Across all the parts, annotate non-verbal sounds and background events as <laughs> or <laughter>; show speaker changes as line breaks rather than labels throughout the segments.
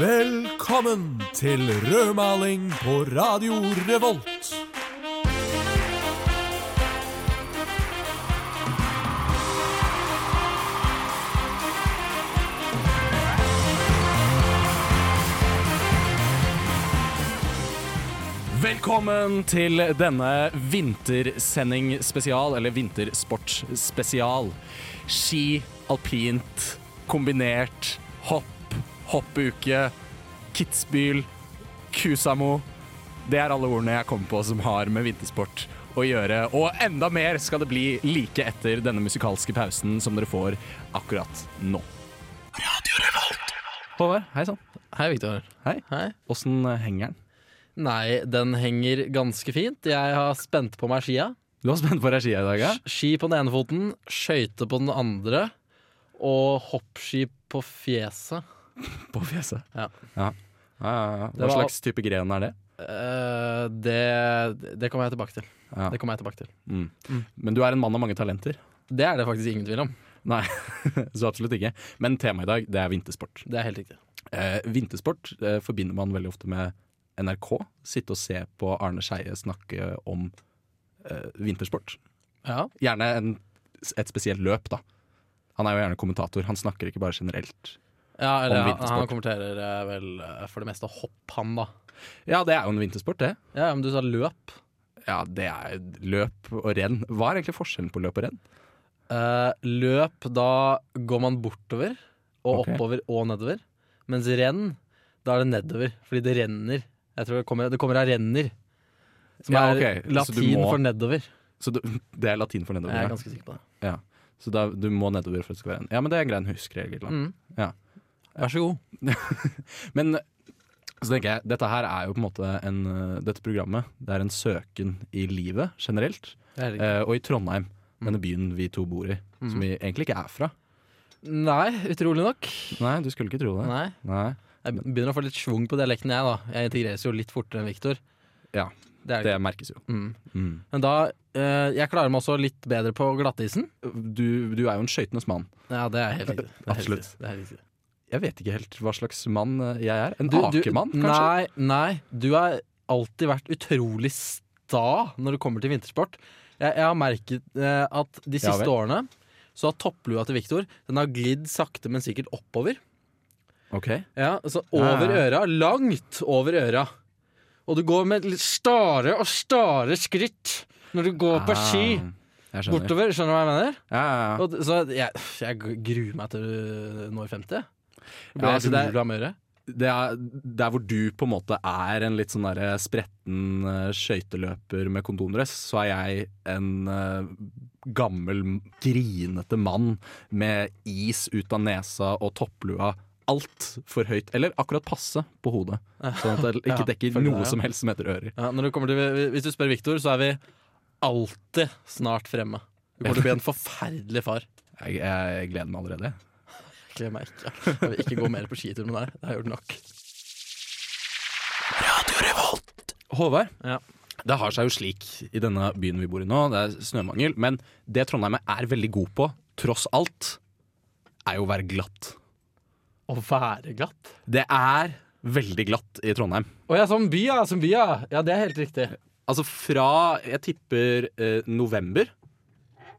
Velkommen til rødmaling på Radio Revolt.
Velkommen til denne vintersending-spesial, eller vintersport-spesial. Ski, alpint, kombinert, hopp, hoppuke, kitzbühel, kusamo. Det er alle ordene jeg kommer på som har med vintersport å gjøre. Og enda mer skal det bli like etter denne musikalske pausen som dere får akkurat nå. Håvard, hei sann.
Hei, Victor.
Hei.
Hei.
Åssen henger den?
Nei, den henger ganske fint. Jeg har spent på meg skia.
Du var spent på deg skia i dag, ja?
Ski på den ene foten, skøyter på den andre og hoppski på fjeset.
På fjeset.
Ja.
Ja. Ja, ja, ja. Hva
var-
slags type gren er det?
Eh, det det kommer jeg tilbake til.
Ja.
Det kommer jeg tilbake til.
Men du er en mann av mange talenter.
Det er det faktisk ingen tvil om.
Nei, <laughs> så absolutt ikke. Men temaet i dag, det er vintersport.
Det er helt riktig.
Eh, vintersport eh, forbinder man veldig ofte med NRK. Sitte og se på Arne Skeie snakke om eh, vintersport.
Ja.
Gjerne en, et spesielt løp, da. Han er jo gjerne kommentator. Han snakker ikke bare generelt.
ja eller,
Om
han-
vintersport.
han kommenterer eh, vel eh, for det meste hopp, han, da.
Ja, det er jo en vintersport, det.
Ja, ja, men du sa løp.
Ja, det er løp og renn. Hva er egentlig forskjellen på løp og renn?
Eh, løp, da går man bortover og
Ok.
oppover og nedover. Mens renn, da er det nedover, fordi det renner. Jeg tror Det kommer, det kommer av renner, som
Ja,
er
ok, så du
latin
må-
for nedover.
Så det, det er latin for nedover.
Jeg
ja.
er ganske sikker på det.
Ja, så da, du må nedover for at det skal være en Ja, men det er en grei huskeregel. da.
Mm.
Ja.
Vær så god.
<laughs> Men så tenker jeg, dette her er jo på en måte en, eh, Dette programmet det er en søken i livet generelt. Eh, og i Trondheim,
Mm.
denne byen vi to bor i, som vi egentlig ikke er fra.
Nei, utrolig nok.
Nei, du skulle ikke tro det.
Nei.
Nei.
Jeg begynner å få litt schwung på dialekten, jeg. da Jeg integreres jo litt fortere enn Viktor.
Ja,
Det er det.
det merkes jo.
Mm.
Mm.
Men da eh, Jeg klarer meg også litt bedre på glattisen.
Du, du er jo en skøytenes mann.
Ja, det er helt riktig. Det er helt
Absolutt.
riktig. Det er helt riktig.
Jeg vet ikke helt hva slags mann eh, jeg er. En
Du- du-
akemann, kanskje?
Nei, nei, du har alltid vært utrolig sta når det kommer til vintersport. Jeg, jeg har merket eh, at de
Ja
siste
vel.
årene så har topplua til Viktor Den har glidd sakte, men sikkert oppover.
Ok.
Ja, altså
Ja,
over
ja.
øra. Langt over øra. Og du går med litt stare og stare skritt når du går på ski
Ah, Jeg skjønner.
bortover. Skjønner du hva jeg mener?
Ja, ja, ja.
Og, d- så jeg, jeg gruer meg til du når 50. Jeg
Ja,
Blir
altså, det
helt
er-
urolig av humøret.
det er der hvor du på en måte er en litt sånn der spretten eh, skøyteløper med kondomdress, så er jeg en eh, gammel, grinete mann med is ut av nesa og topplua altfor høyt, eller akkurat passe på hodet. Sånn at det
<laughs>
ikke
Ja,
dekker
følger
noe
deg, ja.
som helst som heter ører.
Ja, når det kommer til, hvis du spør Viktor, så er vi alltid snart fremme. Du kommer til å bli en forferdelig far.
Jeg, jeg gleder meg allerede.
Gled meg ikke. Jeg vil ikke gå mer på skitur med deg. Det har jeg gjort nok.
Håvard,
Ja.
det har seg jo slik i denne byen vi bor i nå, det er snømangel, men det Trondheim er veldig god på, tross alt, er jo å være glatt.
Å være glatt.
Det er veldig glatt i Trondheim.
Å ja, som by, ja. Som by, ja. Ja, det er helt riktig.
Altså fra jeg tipper eh, november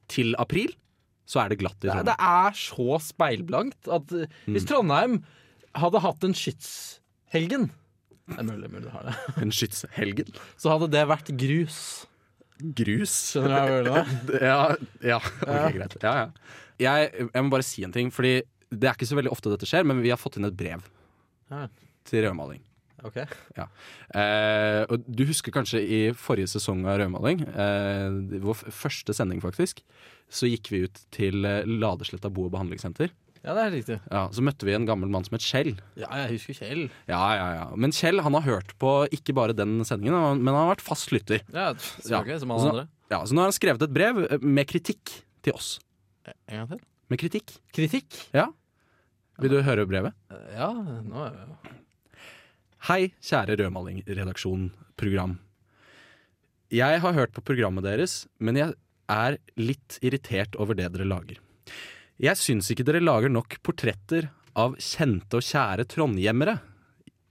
til april, så er det glatt i Trondheim.
Det er så speilblankt at eh, hvis Trondheim hadde hatt en skytshelgen det er mulig, mulig det har det.
En skytshelgen.
Så hadde det vært grus.
Grus.
Skjønner du hva jeg mener?
Ja, ja. ok, greit. Ja, ja. Jeg, jeg må bare si en ting, fordi det er ikke så veldig ofte dette skjer, men vi har fått inn et brev
Ja.
til rødmaling.
Ok.
Ja. Eh, og du husker kanskje i forrige sesong av Rødmaling, eh, vår f- første sending faktisk, så gikk vi ut til eh, Ladesletta bo- og behandlingssenter.
Ja, det er helt riktig.
Ja, så møtte vi en gammel mann som het Kjell.
Ja, jeg husker Kjell.
Ja, ja, ja. Men Kjell han har hørt på ikke bare den sendingen, han- men han har vært fast lytter.
Ja, selvfølgelig. Som alle
Så-
andre.
Ja, så nå har han skrevet et brev eh, med kritikk til oss.
En gang til.
Med kritikk.
Kritikk?
Ja. Vil du høre brevet?
Ja, nå er vi
Hei, kjære Rødmaling-redaksjon program. Jeg har hørt på programmet deres, men jeg er litt irritert over det dere lager. Jeg syns ikke dere lager nok portretter av kjente og kjære trondhjemmere.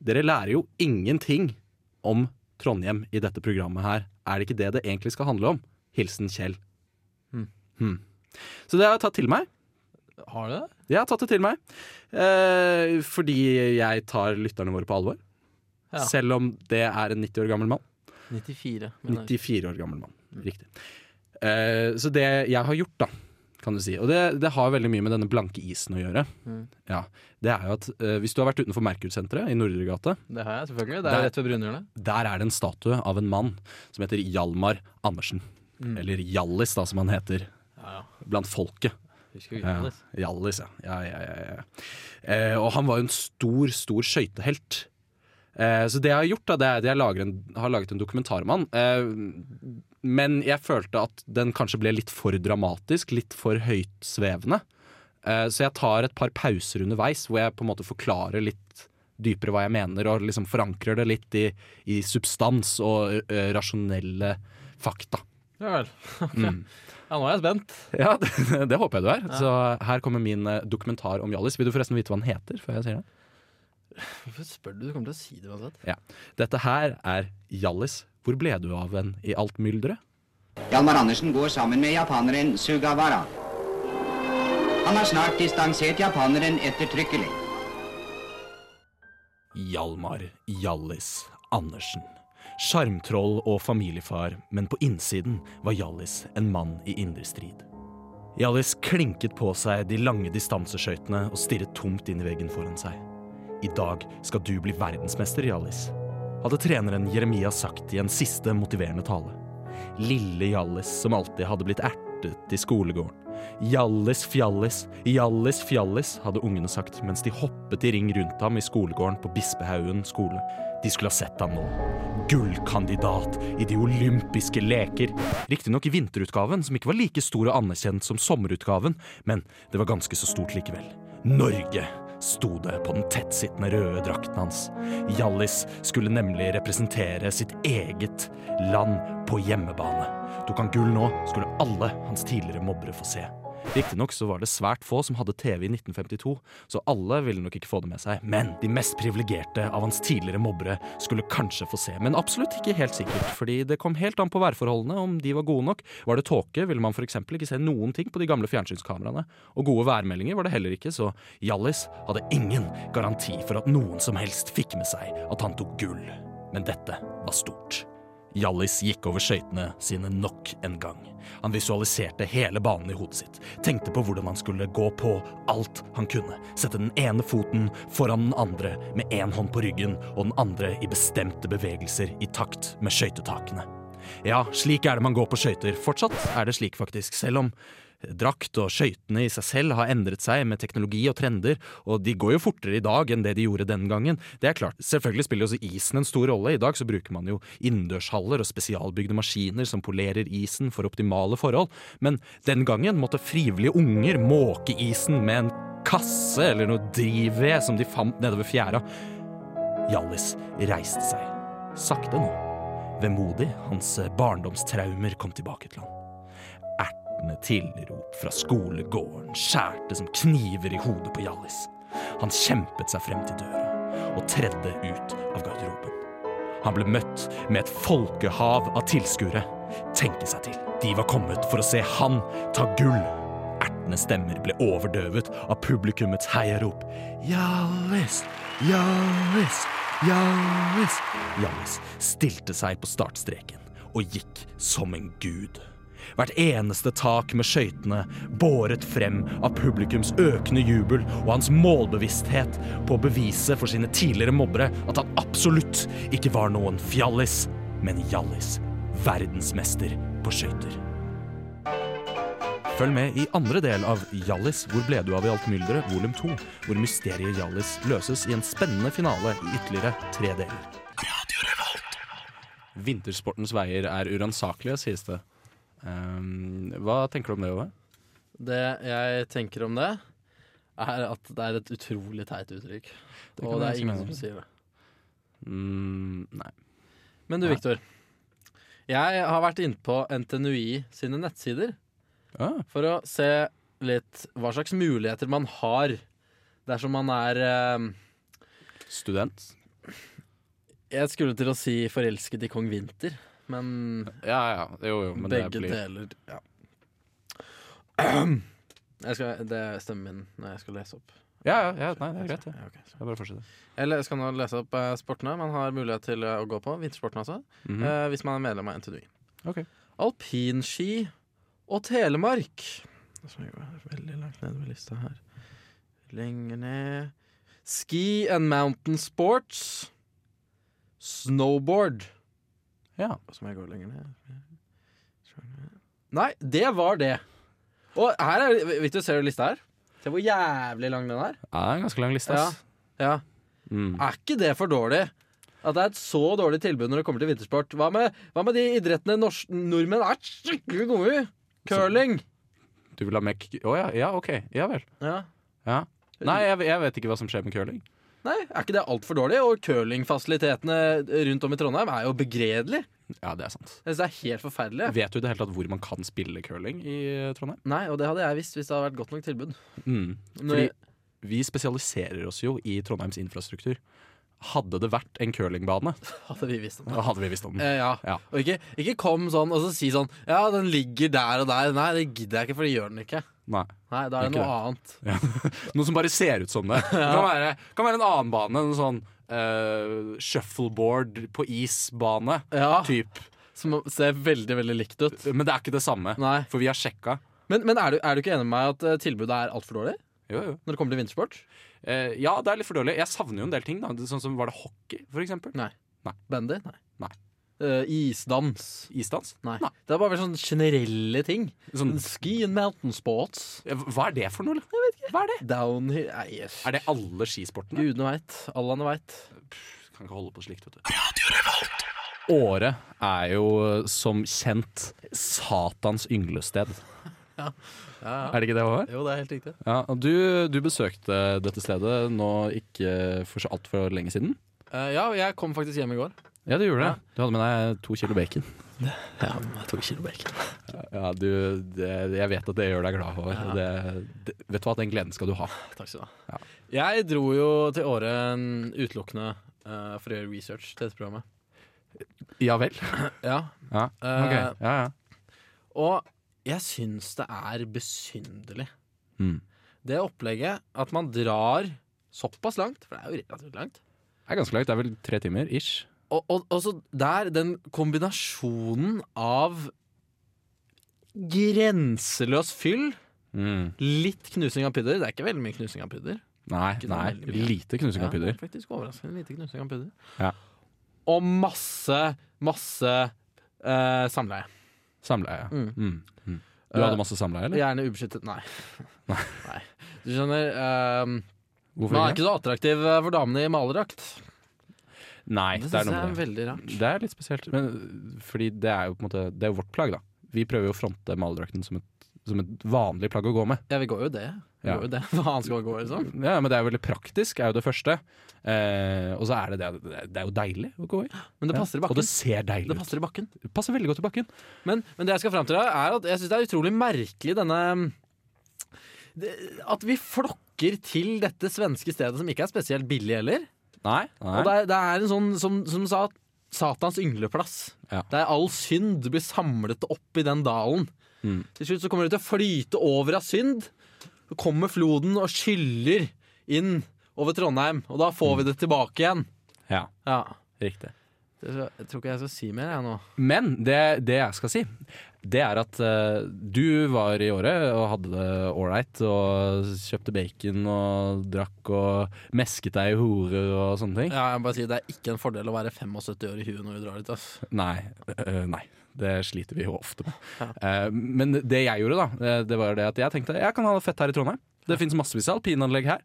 Dere lærer jo ingenting om Trondheim i dette programmet her. Er det ikke det det egentlig skal handle om? Hilsen Kjell. Hmm. Så det har jeg tatt til meg.
Har du det?
Jeg har tatt det til meg. Eh, fordi jeg tar lytterne våre på alvor.
Ja.
Selv om det er en 90 år gammel mann.
94. mener jeg.
94 år gammel mann. Riktig. Eh, så det jeg har gjort, da, kan du si, og det, det har veldig mye med denne blanke isen å gjøre,
Mm.
ja, det er jo at eh, hvis du har vært utenfor Merkur-senteret i Nordregata,
Det har jeg, selvfølgelig. Det er
Der-
rett ved Brunhjørnet.
der er det en statue av en mann som heter Hjalmar Andersen.
Mm.
Eller Hjallis, da, som han heter
Ja, ja.
blant folket.
Husker vi
Ja,
Johannes?
Hjallis, ja. ja, ja, ja, ja. Eh, og han var jo en stor, stor skøytehelt. Eh, så det jeg har gjort, da, det er at jeg lager en, har laget en dokumentar om han. Eh, men jeg følte at den kanskje ble litt for dramatisk, litt for høytsvevende. Eh, så jeg tar et par pauser underveis hvor jeg på en måte forklarer litt dypere hva jeg mener, og liksom forankrer det litt i, i substans og eh, rasjonelle fakta.
Ja vel. <laughs>
Mm.
Ja, nå er jeg spent.
Ja, det, det <laughs> håper jeg du er. Så her kommer min eh, dokumentar om Hjallis. Vil du forresten vite hva den heter? før jeg sier det?
Hvorfor spør du? Du kommer til å si det uansett.
Ja. Dette her er Hjallis. Hvor ble du av en i alt mylderet?
Hjalmar Andersen går sammen med japaneren Sugawara. Han har snart distansert japaneren ettertrykkelig.
Hjalmar Hjallis Andersen. Sjarmtroll og familiefar, men på innsiden var Hjallis en mann i indre strid. Hjallis klinket på seg de lange distanseskøytene og stirret tomt inn i veggen foran seg. I dag skal du bli verdensmester, Hjallis, hadde treneren Jeremias sagt i en siste motiverende tale. Lille Hjallis som alltid hadde blitt ertet i skolegården. Hjallis fjallis, Hjallis fjallis, hadde ungene sagt mens de hoppet i ring rundt ham i skolegården på Bispehaugen skole. De skulle ha sett ham nå. Gullkandidat i de olympiske leker. Riktignok i vinterutgaven, som ikke var like stor og anerkjent som sommerutgaven, men det var ganske så stort likevel. Norge sto det på den tettsittende røde drakten hans. Hjallis skulle nemlig representere sitt eget land på hjemmebane. Tok han gull nå, skulle alle hans tidligere mobbere få se. Riktignok så var det svært få som hadde TV i 1952, så alle ville nok ikke få det med seg. Men de mest privilegerte av hans tidligere mobbere skulle kanskje få se. Men absolutt ikke helt sikkert, fordi det kom helt an på værforholdene om de var gode nok. Var det tåke, ville man f.eks. ikke se noen ting på de gamle fjernsynskameraene. Og gode værmeldinger var det heller ikke, så Hjallis hadde ingen garanti for at noen som helst fikk med seg at han tok gull. Men dette var stort. Hjallis gikk over skøytene sine nok en gang. Han visualiserte hele banen i hodet sitt, tenkte på hvordan han skulle gå på alt han kunne, sette den ene foten foran den andre med én hånd på ryggen og den andre i bestemte bevegelser i takt med skøytetakene. Ja, slik er det man går på skøyter. Fortsatt er det slik, faktisk, selv om Drakt og skøytene i seg selv har endret seg med teknologi og trender, og de går jo fortere i dag enn det de gjorde den gangen. Det er klart, Selvfølgelig spiller også isen en stor rolle. I dag så bruker man jo innendørshaller og spesialbygde maskiner som polerer isen for optimale forhold, men den gangen måtte frivillige unger måke isen med en kasse eller noe drivved som de fant nede ved fjæra. Hjallis reiste seg. Sakte nå. Vemodig, hans barndomstraumer kom tilbake til ham ertende tilrop fra skolegården skjærte som kniver i hodet på Hjallis. Han kjempet seg frem til døra og tredde ut av garderoben. Han ble møtt med et folkehav av tilskuere. Tenke seg til. De var kommet for å se han ta gull. Ertende stemmer ble overdøvet av publikummets heiarop. Hjallis! Hjallis! Hjallis! Hjallis stilte seg på startstreken og gikk som en gud. Hvert eneste tak med skøytene båret frem av publikums økende jubel og hans målbevissthet på å bevise for sine tidligere mobbere at han absolutt ikke var noen fjallis, men Hjallis. Verdensmester på skøyter. Følg med i andre del av Hjallis hvor ble du av i alt mylderet, volum 2, hvor mysteriet Hjallis løses i en spennende finale i ytterligere tre deler. Vintersportens veier er uransakelige, sies det. Ehm, hva tenker du om det, Ove?
Det jeg tenker om det, er at det er et utrolig teit uttrykk.
kan
Og det
være
er
så
ingen
mange.
som sier det.
Mm, nei.
Men du,
Nei.
Viktor. Jeg har vært inne på NTNUI sine nettsider
Ah,
for å se litt hva slags muligheter man har dersom man er eh,
Student.
Jeg skulle til å si forelsket i kong Vinter, men
Ja, ja. Jo, jo, men
begge
det blir
deler. Ja. Jeg skal, det er stemmen min når jeg skal lese opp.
Ja, ja. ja nei, det er greit, det.
Ja, ok, så.
Jeg bare fortsetter.
Jeg le- skal nå lese opp eh, sportene man har mulighet til eh, å gå på. Vintersporten, altså.
Mhm.
eh, hvis man er medlem av NTNU.
Ok.
Alpinski og Telemark. Som jo er veldig langt nede ved lista her. Lenger ned Ski and mountain sports. Snowboard.
Ja.
Som jeg går lenger ned Nei, det var det. Og her er Victor, ser du lista her? Se hvor jævlig lang den er.
Ja, det er en ganske lang liste, ass.
Ja.
Mm.
Er ikke det for dårlig? At det er et så dårlig tilbud når det kommer til vintersport. Hva med, hva med de idrettene norsk, nordmenn er skikkelig gode i? Curling.
Du vil ha mek... Å ja, ja, OK. Ja vel.
Ja.
Ja. Nei, jeg, jeg vet ikke hva som skjer med curling.
Nei, er ikke det altfor dårlig? Og curlingfasilitetene rundt om i Trondheim er jo begredelige.
Ja, det er sant.
Jeg synes det er helt forferdelig.
Vet du i det hele tatt hvor man kan spille curling i eh, Trondheim?
Nei, og det hadde jeg visst hvis det hadde vært godt nok tilbud.
Mm.
Når
Fordi vi spesialiserer oss jo i Trondheims infrastruktur. Hadde det vært en curlingbane,
hadde vi visst om det.
da hadde vi visst om den.
Eh, ja.
Ja.
Og ikke, ikke kom sånn og så si sånn Ja, den ligger der og der. Nei, det gidder jeg ikke, for det gjør den ikke.
Nei.
Nei, da er det
Ikke
noe annet.
Ja. Noe som bare ser ut som <laughs> det. Det kan være, kan være en annen bane. En sånn eh, shuffleboard på is-bane.
Ja,
Typ.
Som ser veldig, veldig likt ut.
Men det er ikke det samme,
Nei.
for vi har sjekka.
Men, men er, du, er du ikke enig med meg at eh, tilbudet er altfor dårlig
Jo, jo.
når det kommer til vintersport?
Eh, ja, det er litt for dårlig. Jeg savner jo en del ting. da Sånn som Var det hockey, for eksempel?
Bandy? Nei.
Nei.
Eh, isdans?
Isdans?
Nei. Mm.
Nei.
Det er bare sånne generelle ting.
Sånn,
Ski and mountain sports.
hva er det for noe? da? Hva er det?
Downhill Nei, yes.
Er det alle skisportene?
Gudene veit. Allahene veit.
Kan ikke holde på slikt, vet du. Året er jo eh, som kjent Satans ynglested. Er det ikke det, Håvard?
Jo, det er helt riktig.
Ja, og du, du besøkte dette stedet nå ikke for så altfor lenge siden.
Eh, ja, jeg kom faktisk hjem i går.
Ja, du gjorde det. Du hadde med deg to kilo bacon.
Ja, jeg tok kilo bacon.
Ja, du, det, Jeg vet at det gjør deg glad, Håvard. og Det, det, vet du hva, den gleden skal du ha.
Takk skal du ha. Jeg dro jo til Åre mm, utelukkende eh, for å gjøre research til dette programmet.
Ja vel? Eh,
Ja,
Ja, ok. ja, ja.
Og jeg syns det er besynderlig.
Mm.
Det opplegget at man drar såpass langt, for det er jo relativt langt
Det er ganske langt. Det er vel tre timer ish.
Og, og, og så der, den kombinasjonen av grenseløs fyll, litt knusing av pudder Det er ikke veldig mye knusing av pudder.
Mm. Nei,
Ikke så
nei.
veldig mye.
Lite knusing av
Ja,
pudder.
faktisk overraskende lite knusing av pudder.
Ja.
Og masse, masse eh, samleie.
Samleie. Mm.
Mm.
Mm. Du hadde masse samleie, eller?
Gjerne ubeskyttet
<laughs>
Nei. Nei. Du skjønner, eh,
Hvorfor
man er ikke så attraktiv eh, for damene i malerdrakt.
Nei,
Det
det,
syns
er
jeg
noe
er
med det.
veldig rart.
Det er litt spesielt. Men, øh, fordi det er jo på en måte Det er jo vårt plagg, da. Vi prøver jo å fronte maledrakten som et, som et vanlig plagg å gå med.
Ja, vi går jo det. Vi
Ja.
går jo det. <laughs> Hva annet skal vi gå, liksom?
Ja, Men det er jo veldig praktisk, er jo det første. Eh, og så er det det Det er jo deilig å gå i.
Men det
Ja.
passer i
Og det
bakken.
ser deilig
Det
ut.
passer i bakken.
Det passer veldig godt i bakken.
Men, men det jeg skal frem til, her er at jeg syns det er utrolig merkelig denne um, det, At vi flokker til dette svenske stedet som ikke er spesielt billig heller.
Nei.
Og det er, det er en sånn som, som sa Satans yngleplass.
Ja.
Der all synd blir samlet opp i den dalen.
Mm.
Til slutt så kommer det til å flyte over av synd. Så kommer floden og skyller inn over Trondheim, og da får vi det tilbake igjen.
Ja,
Ja.
riktig.
Det skal- Jeg tror ikke jeg skal si mer, jeg nå.
Men det, det jeg skal si, det er at eh, du var i året og hadde det ålreit. Og kjøpte bacon og drakk og mesket deg i horer og sånne ting.
Ja, jeg må bare si Det er ikke en fordel å være 75 år i huet når du drar dit. ass.
Nei. eh, nei. Det sliter vi jo ofte med. Eh, men det jeg gjorde, da, eh, det var det at jeg tenkte jeg kan ha det fett her i Trondheim. Det fins massevis av alpinanlegg her.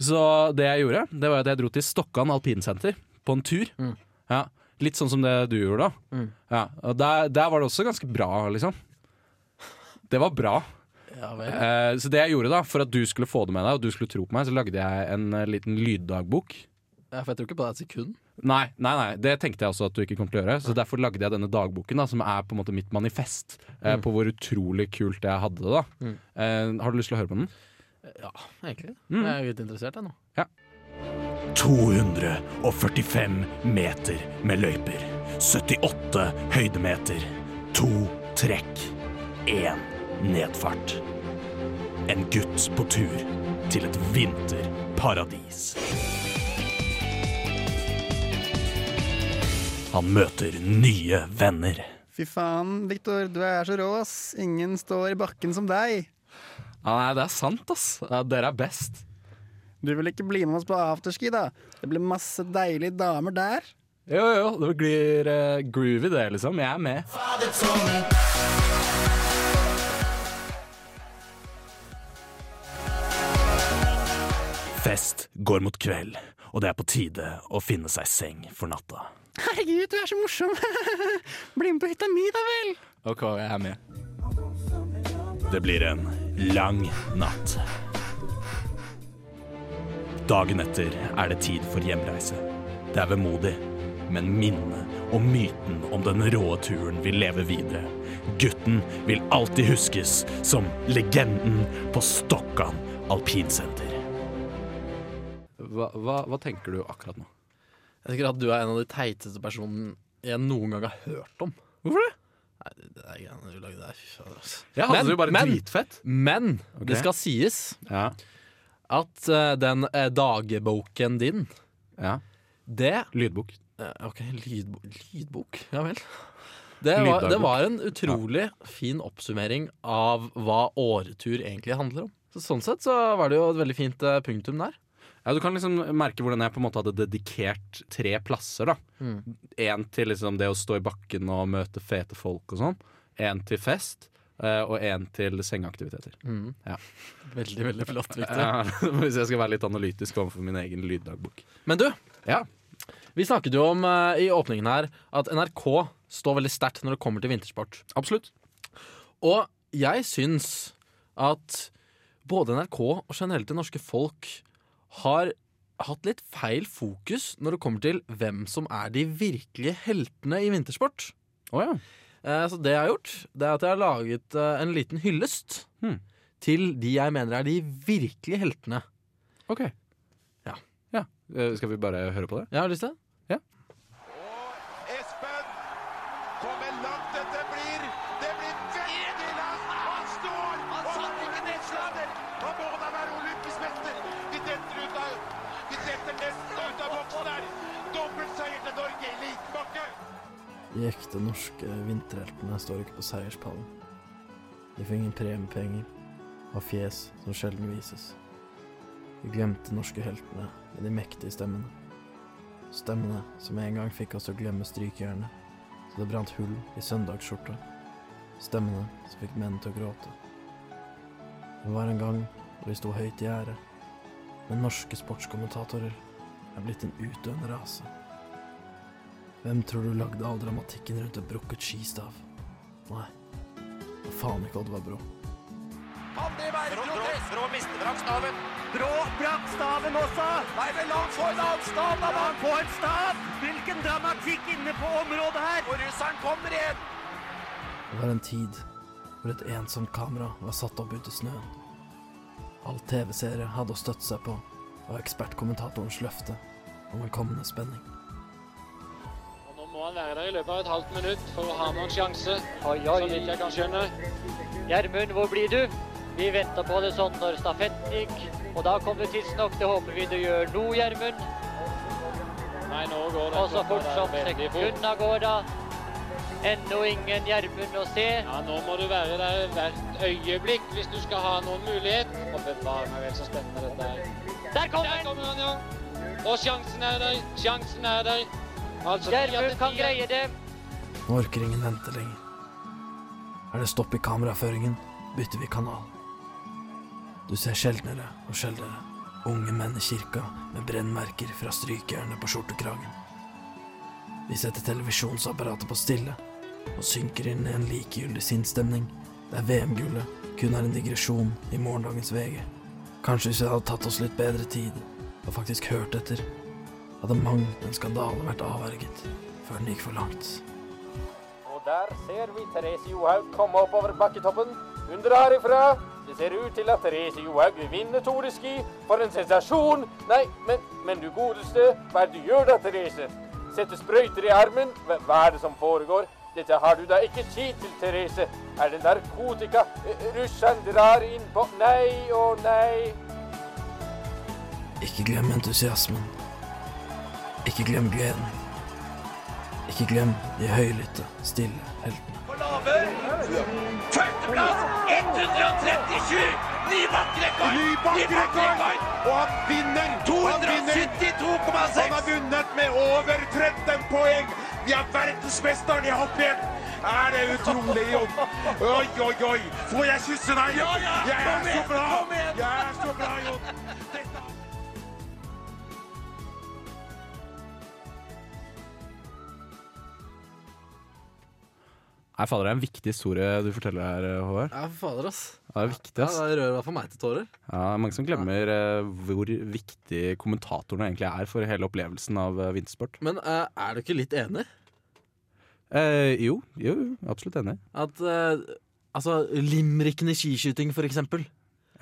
Så det jeg gjorde, det var at jeg dro til Stokkan alpinsenter på en tur.
Mm.
Ja, litt sånn som det du gjorde, da.
Mm.
Ja, og der, der var det også ganske bra, liksom. Det var bra.
Ja vel.
Eh, så det jeg gjorde da, for at du skulle få det med deg, og du skulle tro på meg, så lagde jeg en eh, liten lyddagbok.
Ja, for jeg tror ikke på det et sekund.
Nei, nei, nei, det tenkte jeg også at du ikke kom til å gjøre. Så derfor lagde jeg denne dagboken, da, som er på en måte mitt manifest eh, på hvor utrolig kult jeg hadde det. da.
Mm.
Eh, har du lyst til å høre på den?
Ja, egentlig.
Mm.
Jeg er litt interessert, jeg nå.
245 meter med løyper. 78 høydemeter. To trekk. Én nedfart. En gutt på tur til et vinterparadis. Han møter nye venner.
Fy faen, Victor, du er så rå, ass. Ingen står i bakken som deg.
Ja, nei, det er sant, ass. Ja, dere er best.
Du vil ikke bli med oss på afterski, da? Det blir masse deilige damer der.
Jo, jo, det blir eh, groovy, det, liksom. Jeg er med.
Fest går mot kveld, og det er på tide å finne seg seng for natta.
Herregud, du er så morsom! <laughs> bli med på hytta mi, da vel!
OK, jeg er med.
Det blir en lang natt. Dagen etter er det tid for hjemreise. Det er vemodig, men minnet og myten om den rå turen vil leve videre. Gutten vil alltid huskes som legenden på Stokkan alpinsenter.
Hva, hva, hva tenker du akkurat nå?
Jeg tenker at du er en av de teiteste personene jeg noen gang har hørt om.
Hvorfor det?
Nei, det er greiene du lagde der. Fy fader, altså.
Jeg hadde
Men-
det jo bare
men-
dritfett.
Men
Ok.
det skal sies
Ja,
at eh, den eh, dagboken din,
ja.
det
Lydbok.
Eh, Ok, lydbo lydbok, ja vel. Det var,
Lyddagbok.
det var en utrolig fin oppsummering av hva åretur egentlig handler om. Så sånn sett så var det jo et veldig fint eh, punktum der.
Ja, Du kan liksom merke hvordan jeg på en måte hadde dedikert tre plasser. da Én til liksom det å stå i bakken og møte fete folk og sånn. Én til fest, eh, og én til sengeaktiviteter.
Veldig, veldig flott, Victor.
Ja, <laughs> hvis jeg skal være litt analytisk overfor min egen lyddagbok.
Men du,
Ja,
vi snakket jo om eh, i åpningen her at NRK står veldig sterkt når det kommer til vintersport.
absolutt.
Og jeg syns at både NRK og generelt det norske folk har hatt litt feil fokus når det kommer til hvem som er de virkelige heltene i vintersport.
Å ja.
Eh, Så det jeg har gjort, det er at jeg har laget eh, en liten hyllest
Hmm.
til de jeg mener er de virkelige heltene.
Ok.
Ja.
Eh, Skal vi bare høre på det?
Jeg har lyst til det.
Espen! Hvor langt dette blir! Det blir veldig langt! Han står! Han satte ikke nedslaget! Nå må da være olympisk mester! De detter ut av De detter nesten ut av boksen her! Dobbeltseier til Norge i Likbakke!
De ekte norske vinterheltene står ikke på seierspallen. De får ingen premiepenger og fjes som sjelden vises. De glemte norske heltene med de mektige stemmene. Stemmene som en gang fikk oss til å glemme strykejernet, så det brant hull i søndagsskjorta. Stemmene som fikk menn til å gråte. Det var en gang da vi sto høyt i gjerdet, men norske sportskommentatorer er blitt en utdøende rase. Hvem tror du lagde all dramatikken rundt et brukket skistav? Nei, det var faen ikke Oddvar Brå.
Kan det være Brå, Brå, Brå mister brakstaven. Brå brakk staven også. Nei, men la han få en annen stav, da! La han få en stav! Hvilken dramatikk inne på området her! Og russeren kommer igjen!
Det var en tid hvor et ensomt kamera var satt opp ute i snøen. All TV-serie hadde å støtte seg på, var ekspertkommentatorens løfte om en kommende spenning.
Og Nå må han være der i løpet av et halvt minutt for å ha noen sjanse, så vidt jeg kan skjønne.
Gjermund, hvor blir du? Vi venta på det sånn når stafetten gikk, og da kom det tidsnok. Det håper vi du gjør nå, Gjermund.
Nei, nå går den
Og så fort
klokka
som
der veldig fort.
sekunda går, da. Ennå ingen Gjermund å se.
Ja, nå må du være der hvert øyeblikk hvis du skal ha noen mulighet. Og bevare meg vel så spennende dette er.
Der kommer
Der
han!
kommer han, ja! Og sjansen er der, sjansen er der. Altså, ti av ti
Gjermund kan
er-
greie det.
Nå orker ingen vente lenger. Er det stopp i kameraføringen, bytter vi kanal. Du ser sjeldnere og sjeldnere unge menn i kirka med brennmerker fra strykejernet på skjortekragen. Vi setter televisjonsapparatet på stille og synker inn i en likegyldig sinnsstemning der VM-gullet kun er en digresjon i morgendagens VG. Kanskje hvis vi hadde tatt oss litt bedre tid og faktisk hørt etter, hadde mangt en skandale vært avverget før den gikk for langt.
Og der ser vi Therese Johaug komme oppover bakketoppen. Under herifra. Det ser ut til at Therese Johaug vil vinne Tour de Ski. For en sensasjon! Nei, men, men du godeste, hva er det du gjør da, Therese? Setter sprøyter i armen? Hva, hva er det som foregår? Dette har du da ikke tid til, Therese. Er det narkotika? Eh, Russland drar inn på Nei og nei.
Ikke glem entusiasmen. Ikke glem gleden. Ikke glem de høylytte, stille heltene.
På Laver. Førsteplass 137! Ny bakkerekord! Ny bakkerekord! Og han vinner! 272,6! Han har vunnet med over 13 poeng! Vi er verdensmesteren i hoppjern! Er det utrolig jobb? Oi, oi, oi! Får jeg kysse deg? Jeg er så bra! Jeg er så bra, Jon! Dette-
Nei, fader, det er en viktig historie du forteller her, eh, Håvard.
Ja, fader, ass.
Ja, Det er viktig,
Ja,
ass.
det rører i hvert fall meg til tårer.
Ja, det er mange som glemmer eh, hvor viktig kommentatorene egentlig er for hele opplevelsen av eh, vintersport.
Men eh, er du ikke litt enig?
Eh, jo, jo, jo, absolutt enig.
At eh, altså, limerickene i skiskyting, for eksempel.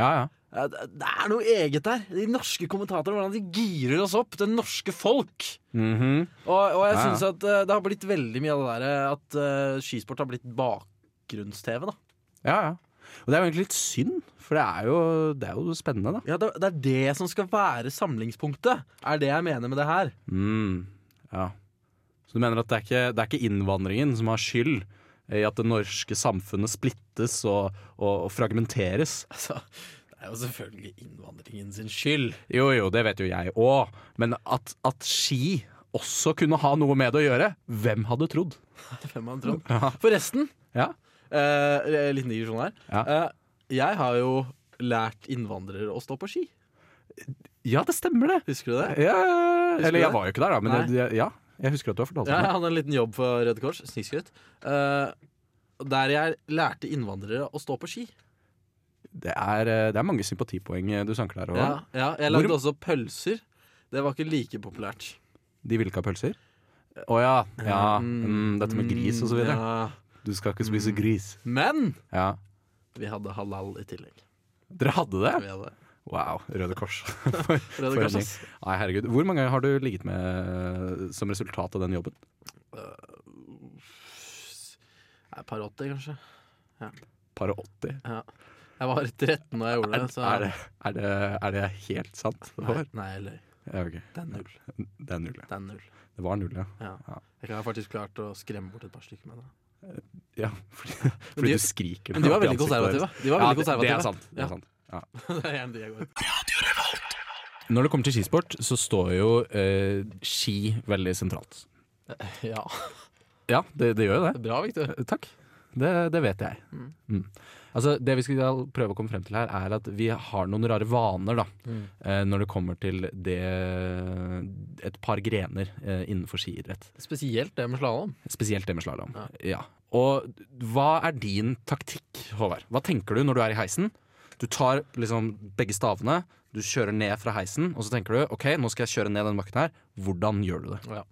Ja, ja.
Eh, det det er noe eget der. De norske kommentatorene, hvordan de girer oss opp. Det norske folk.
Mhm.
Og, og jeg
Ja, ja.
synes at eh, det har blitt veldig mye av det der eh, at eh, skisport har blitt bakgrunns-TV, da.
ja, ja. Og det er jo egentlig litt synd, for det er jo, det er jo spennende, da.
Ja, det, det er det som skal være samlingspunktet, er det jeg mener med det her.
Mm, ja. Så du mener at det er, ikke, det er ikke innvandringen som har skyld i at det norske samfunnet splittes og, og, og fragmenteres?
Altså, det er jo selvfølgelig innvandringen sin skyld.
Jo, jo, det vet jo jeg òg, men at, at ski også kunne ha noe med det å gjøre, hvem hadde trodd?
Hvem man trodd. Forresten,
Ja.
eh, liten digresjon her.
Ja.
Eh, jeg har jo lært innvandrere å stå på ski.
Ja, det stemmer det.
Husker du det?
Ja,
Husker du
eller jeg
det?
var jo ikke der, da, men
Nei.
jeg, jeg- ja, jeg husker at du har fortalt
Ja,
meg
jeg
det.
hadde en liten jobb for Røde Kors. Snikskritt. Eh, der jeg lærte innvandrere å stå på ski.
Det er, eh, det er mange sympatipoeng eh, du sanker der.
Ja,
Håvard.
ja, jeg lagde
Hvor-
også pølser. Det var ikke like populært.
De vil ikke ha pølser. Å ja. ja mm, dette med gris og så videre.
Ja.
Du skal ikke
Mm.
spise gris.
Men
Ja.
vi hadde halal i tillegg.
Dere hadde
Vi
det?
hadde
Wow. Røde Kors. <laughs>
Røde Kors, ass.
Nei, herregud. Hvor mange har du ligget med eh, som resultat av den jobben?
Nei, Et par åtti, kanskje.
Par og 80?
Jeg var 13 da jeg gjorde
Er,
det. Så
er, det, er, det, er det helt sant?
Altså- Nei,
Håvard?
nei, jeg løy.
Ja, ok.
Det er null.
Det er null, ja.
Det er null.
Det var null, ja.
Ja.
Ja.
Jeg kan ha faktisk klart å skremme bort et par stykker med det.
ja <laughs> fordi fordi
de-
du skriker.
Men de var
opp i
veldig
ansiktet
konservative.
deres.
De var
Ja,
veldig
det, det
konservative.
er sant. Det
Ja.
er sant. Ja.
<laughs> Det er en de jeg går ut.
Når det kommer til skisport, så står jo eh, ski veldig sentralt.
<laughs> Ja,
Ja, det, det gjør jo det.
det er bra, Victor.
Eh, Takk. Det, det vet jeg. Mm. Altså, det vi skal prøve å komme frem til her, er at vi har noen rare vaner da, eh, når det kommer til det, et par grener eh, innenfor skiidrett.
Spesielt det med slalåm.
Spesielt det med slalåm. Ja. Og hva er din taktikk, Håvard? Hva tenker du når du er i heisen? Du tar liksom begge stavene, du kjører ned fra heisen, og så tenker du OK, nå skal jeg kjøre ned den bakken her. Hvordan gjør du det?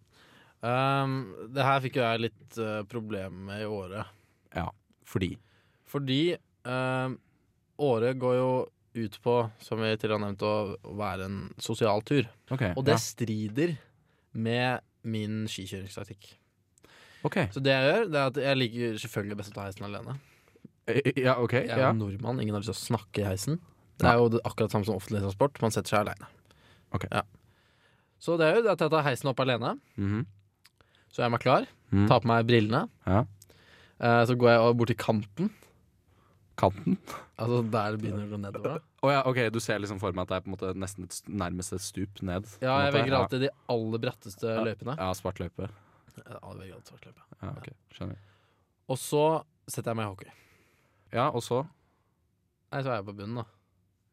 Um, det her fikk jo jeg litt uh, problemer med i året.
Ja, fordi
Fordi eh, året går jo ut på, som vi tidligere har nevnt, å, å være en sosial tur.
OK.
Og det strider med min skikjøringstaktikk.
ja. ok.
Så det jeg gjør, det er at jeg liker selvfølgelig best å ta heisen alene.
Eh, Ja, ok.
Jeg er
Ja.
jo nordmann, ingen har lyst til å snakke i heisen. Det er jo det- akkurat samme som offentlig transport, man setter seg alene.
Ok.
Ja. Så det jeg gjør, det er at jeg tar heisen opp alene,
Mhm.
så er jeg meg klar,
Mhm.
tar på meg brillene,
Ja.
eh, så går jeg bort til kanten,
Kanten.
altså der det begynner å gå nedover. da.
Å ja, ok, du ser liksom for meg at det er på en måte nesten et st- nærmest et stup ned. på en
Ja, jeg
måte.
velger alltid de aller bratteste
Ja.
løypene.
Ja, svart løype.
Ja, jeg velger alltid svart løype.
Ja, ok, skjønner.
Og så setter jeg meg i hockey.
Ja, og så?
Nei, så er jeg på bunnen, da.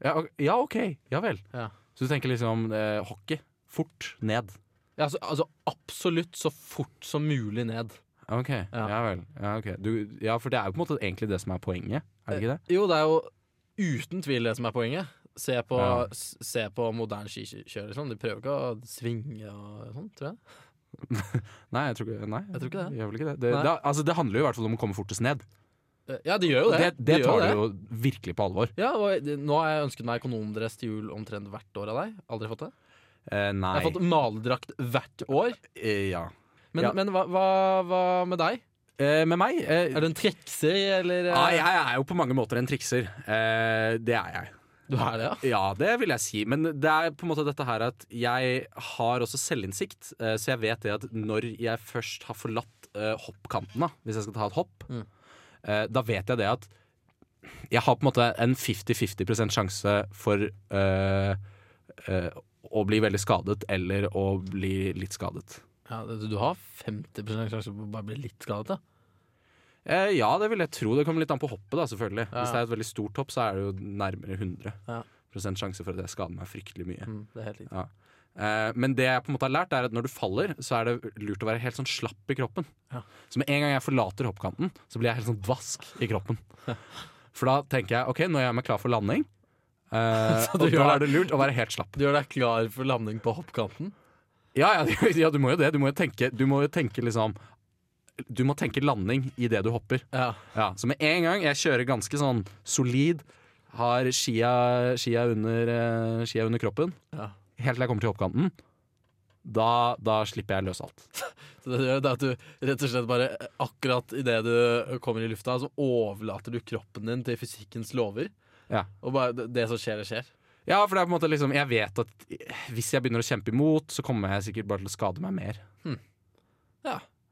Ja, ok. Ja, ok. ja vel.
Ja.
Så du tenker liksom eh, hockey. Fort ned.
Ja, altså, altså absolutt så fort som mulig ned.
Ok, ja,
Ja.
vel. Ja, ok. du, ja, for det er jo på en måte egentlig det som er poenget, er det ikke det?
Jo, det er jo uten tvil det som er poenget. Se på,
Ja.
s- se på moderne skikjører. Liksom. De prøver ikke å svinge og sånn, tror jeg.
Nei, jeg tror ikke, nei,
Jeg tror ikke det.
de gjør vel ikke det. Det,
Nei.
det, altså, det handler jo i hvert fall om å komme fortest ned.
Eh, Ja, de gjør jo det.
det,
De gjør
tar du jo virkelig på alvor.
Ja, og det- Nå har jeg ønsket meg økonomdress til jul omtrent hvert år av deg. Aldri fått det.
Eh, nei.
Jeg har fått maledrakt hvert år.
Eh, ja.
Men,
Ja.
men hva, hva, hva med deg?
Eh, med meg eh,
Er du en trekser, eller? eh?
Ah, ja, Jeg er jo på mange måter en trikser. Eh, det er jeg.
Du er det, ja?
Ja, det vil jeg si. Men det er på en måte dette her at jeg har også selvinnsikt. eh, Så jeg vet det at når jeg først har forlatt eh, hoppkanten, da, hvis jeg skal ta et hopp,
Mm.
eh, da vet jeg det at jeg har på en måte en 50-50 sjanse for eh, eh, å bli veldig skadet eller å bli litt skadet.
ja det- du har 50 sjanse på å bare bli litt skadet, da.
Eh, ja, det vil jeg tro. Det kommer litt an på hoppet, da, selvfølgelig.
Ja.
Hvis det er et veldig stort hopp, så er det jo nærmere 100
Ja.
sjanse for at jeg skader meg fryktelig mye.
Mm, det er helt riktig.
Eh, Men det jeg på en måte har lært er at når du faller, så er det lurt å være helt sånn slapp i kroppen.
Ja.
Så med en gang jeg forlater hoppkanten, så blir jeg helt sånn dvask i
<laughs>
kroppen. For da tenker jeg ok, nå gjør jeg meg klar for landing. Eh,
<laughs> Så
og
du
da
gjør
er det lurt å være helt slapp.
Du gjør deg klar for landing på hoppkanten?
Ja, ja, <laughs> ja du må jo det. Du må jo tenke, du må jo tenke liksom Du må tenke landing idet du hopper.
Ja.
Ja, så med en gang jeg kjører ganske sånn solid, har skia, skia, under, eh, skia under kroppen,
Ja.
helt til jeg kommer til hoppkanten, da, da slipper jeg løs alt.
Så det du gjør, det er at du rett og slett bare eh, akkurat idet du kommer i lufta, så overlater du kroppen din til fysikkens lover.
Ja.
Og bare det- det som skjer, det skjer.
Ja, for det er på en måte liksom Jeg vet at hvis jeg begynner å kjempe imot, så kommer jeg sikkert bare til å skade meg mer.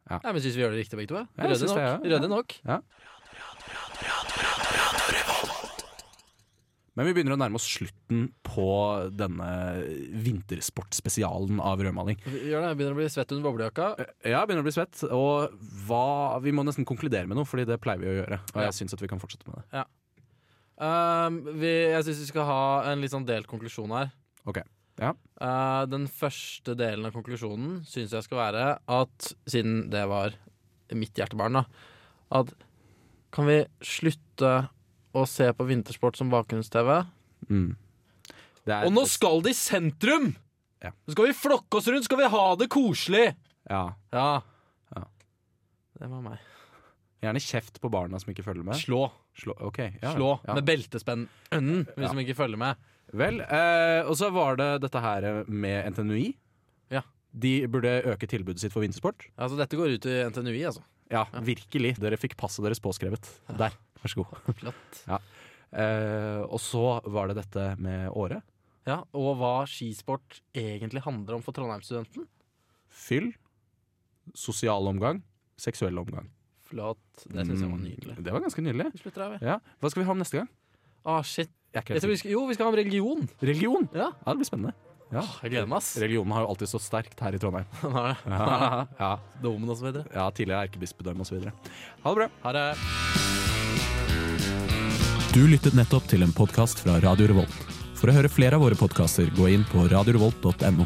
Nei, men Syns vi gjør det riktig, begge to?
jeg
Rødde
synes
nok.
det, ja.
Rødde nok.
Men vi begynner å nærme oss slutten på denne vintersportspesialen av rødmaling.
Gjør det, jeg begynner å bli svett under boblejakka.
Ja, jeg begynner å bli svett, og hva, vi må nesten konkludere med noe, fordi det pleier vi å gjøre. Og
Ja.
jeg syns at vi kan fortsette med det.
Um, vi, jeg syns vi skal ha en litt sånn delt konklusjon her.
Ok, ja.
Uh, den første delen av konklusjonen syns jeg skal være at, siden det var mitt hjertebarn, da, at kan vi slutte å se på vintersport som bakgrunns-TV?
Mm. Det er-
Og nå skal det i sentrum!
Ja.
Nå skal vi flokke oss rundt, skal vi ha det koselig!
Ja.
Ja.
Ja.
Det var meg.
Gjerne kjeft på barna som ikke følger med.
Slå.
Slå, ok, ja,
Slå
ja.
med beltespenn. Ønnen, hvis
Ja.
de ikke følger med.
Vel, eh, og så var det dette her med NTNUI.
Ja.
De burde øke tilbudet sitt for vintersport.
Altså, dette går ut i NTNUI,
<laughs>
altså.
Ja, virkelig. Dere fikk passet deres påskrevet. Der, vær så god.
Flott.
Eh, og så var det dette med året.
Ja, og hva skisport egentlig handler om for Trondheimsstudenten.
Fyll, sosial omgang, seksuell omgang.
Flott. Det syns jeg var
Mm,
nydelig.
Det var ganske nydelig.
Vi slutter her, vi.
Ja. Hva skal vi ha om neste gang?
Ah, shit.
Jeg er ikke
Jeg
helt
tror vi skal, jo, vi skal ha om religion.
sikker. Religion!
Ja.
ja, det blir spennende. Ja.
Åh, Jeg gleder meg, ass.
Religionen har jo alltid stått sterkt her i Trondheim.
<laughs> Nå er det <laughs>
Ja, ja,
Domen og så videre.
ja tidligere erkebispedømme osv. Ha det bra.
Ha det.
Du lyttet nettopp til en podkast fra Radio Revolt. For å høre flere av våre podkaster, gå inn på radiorevolt.no.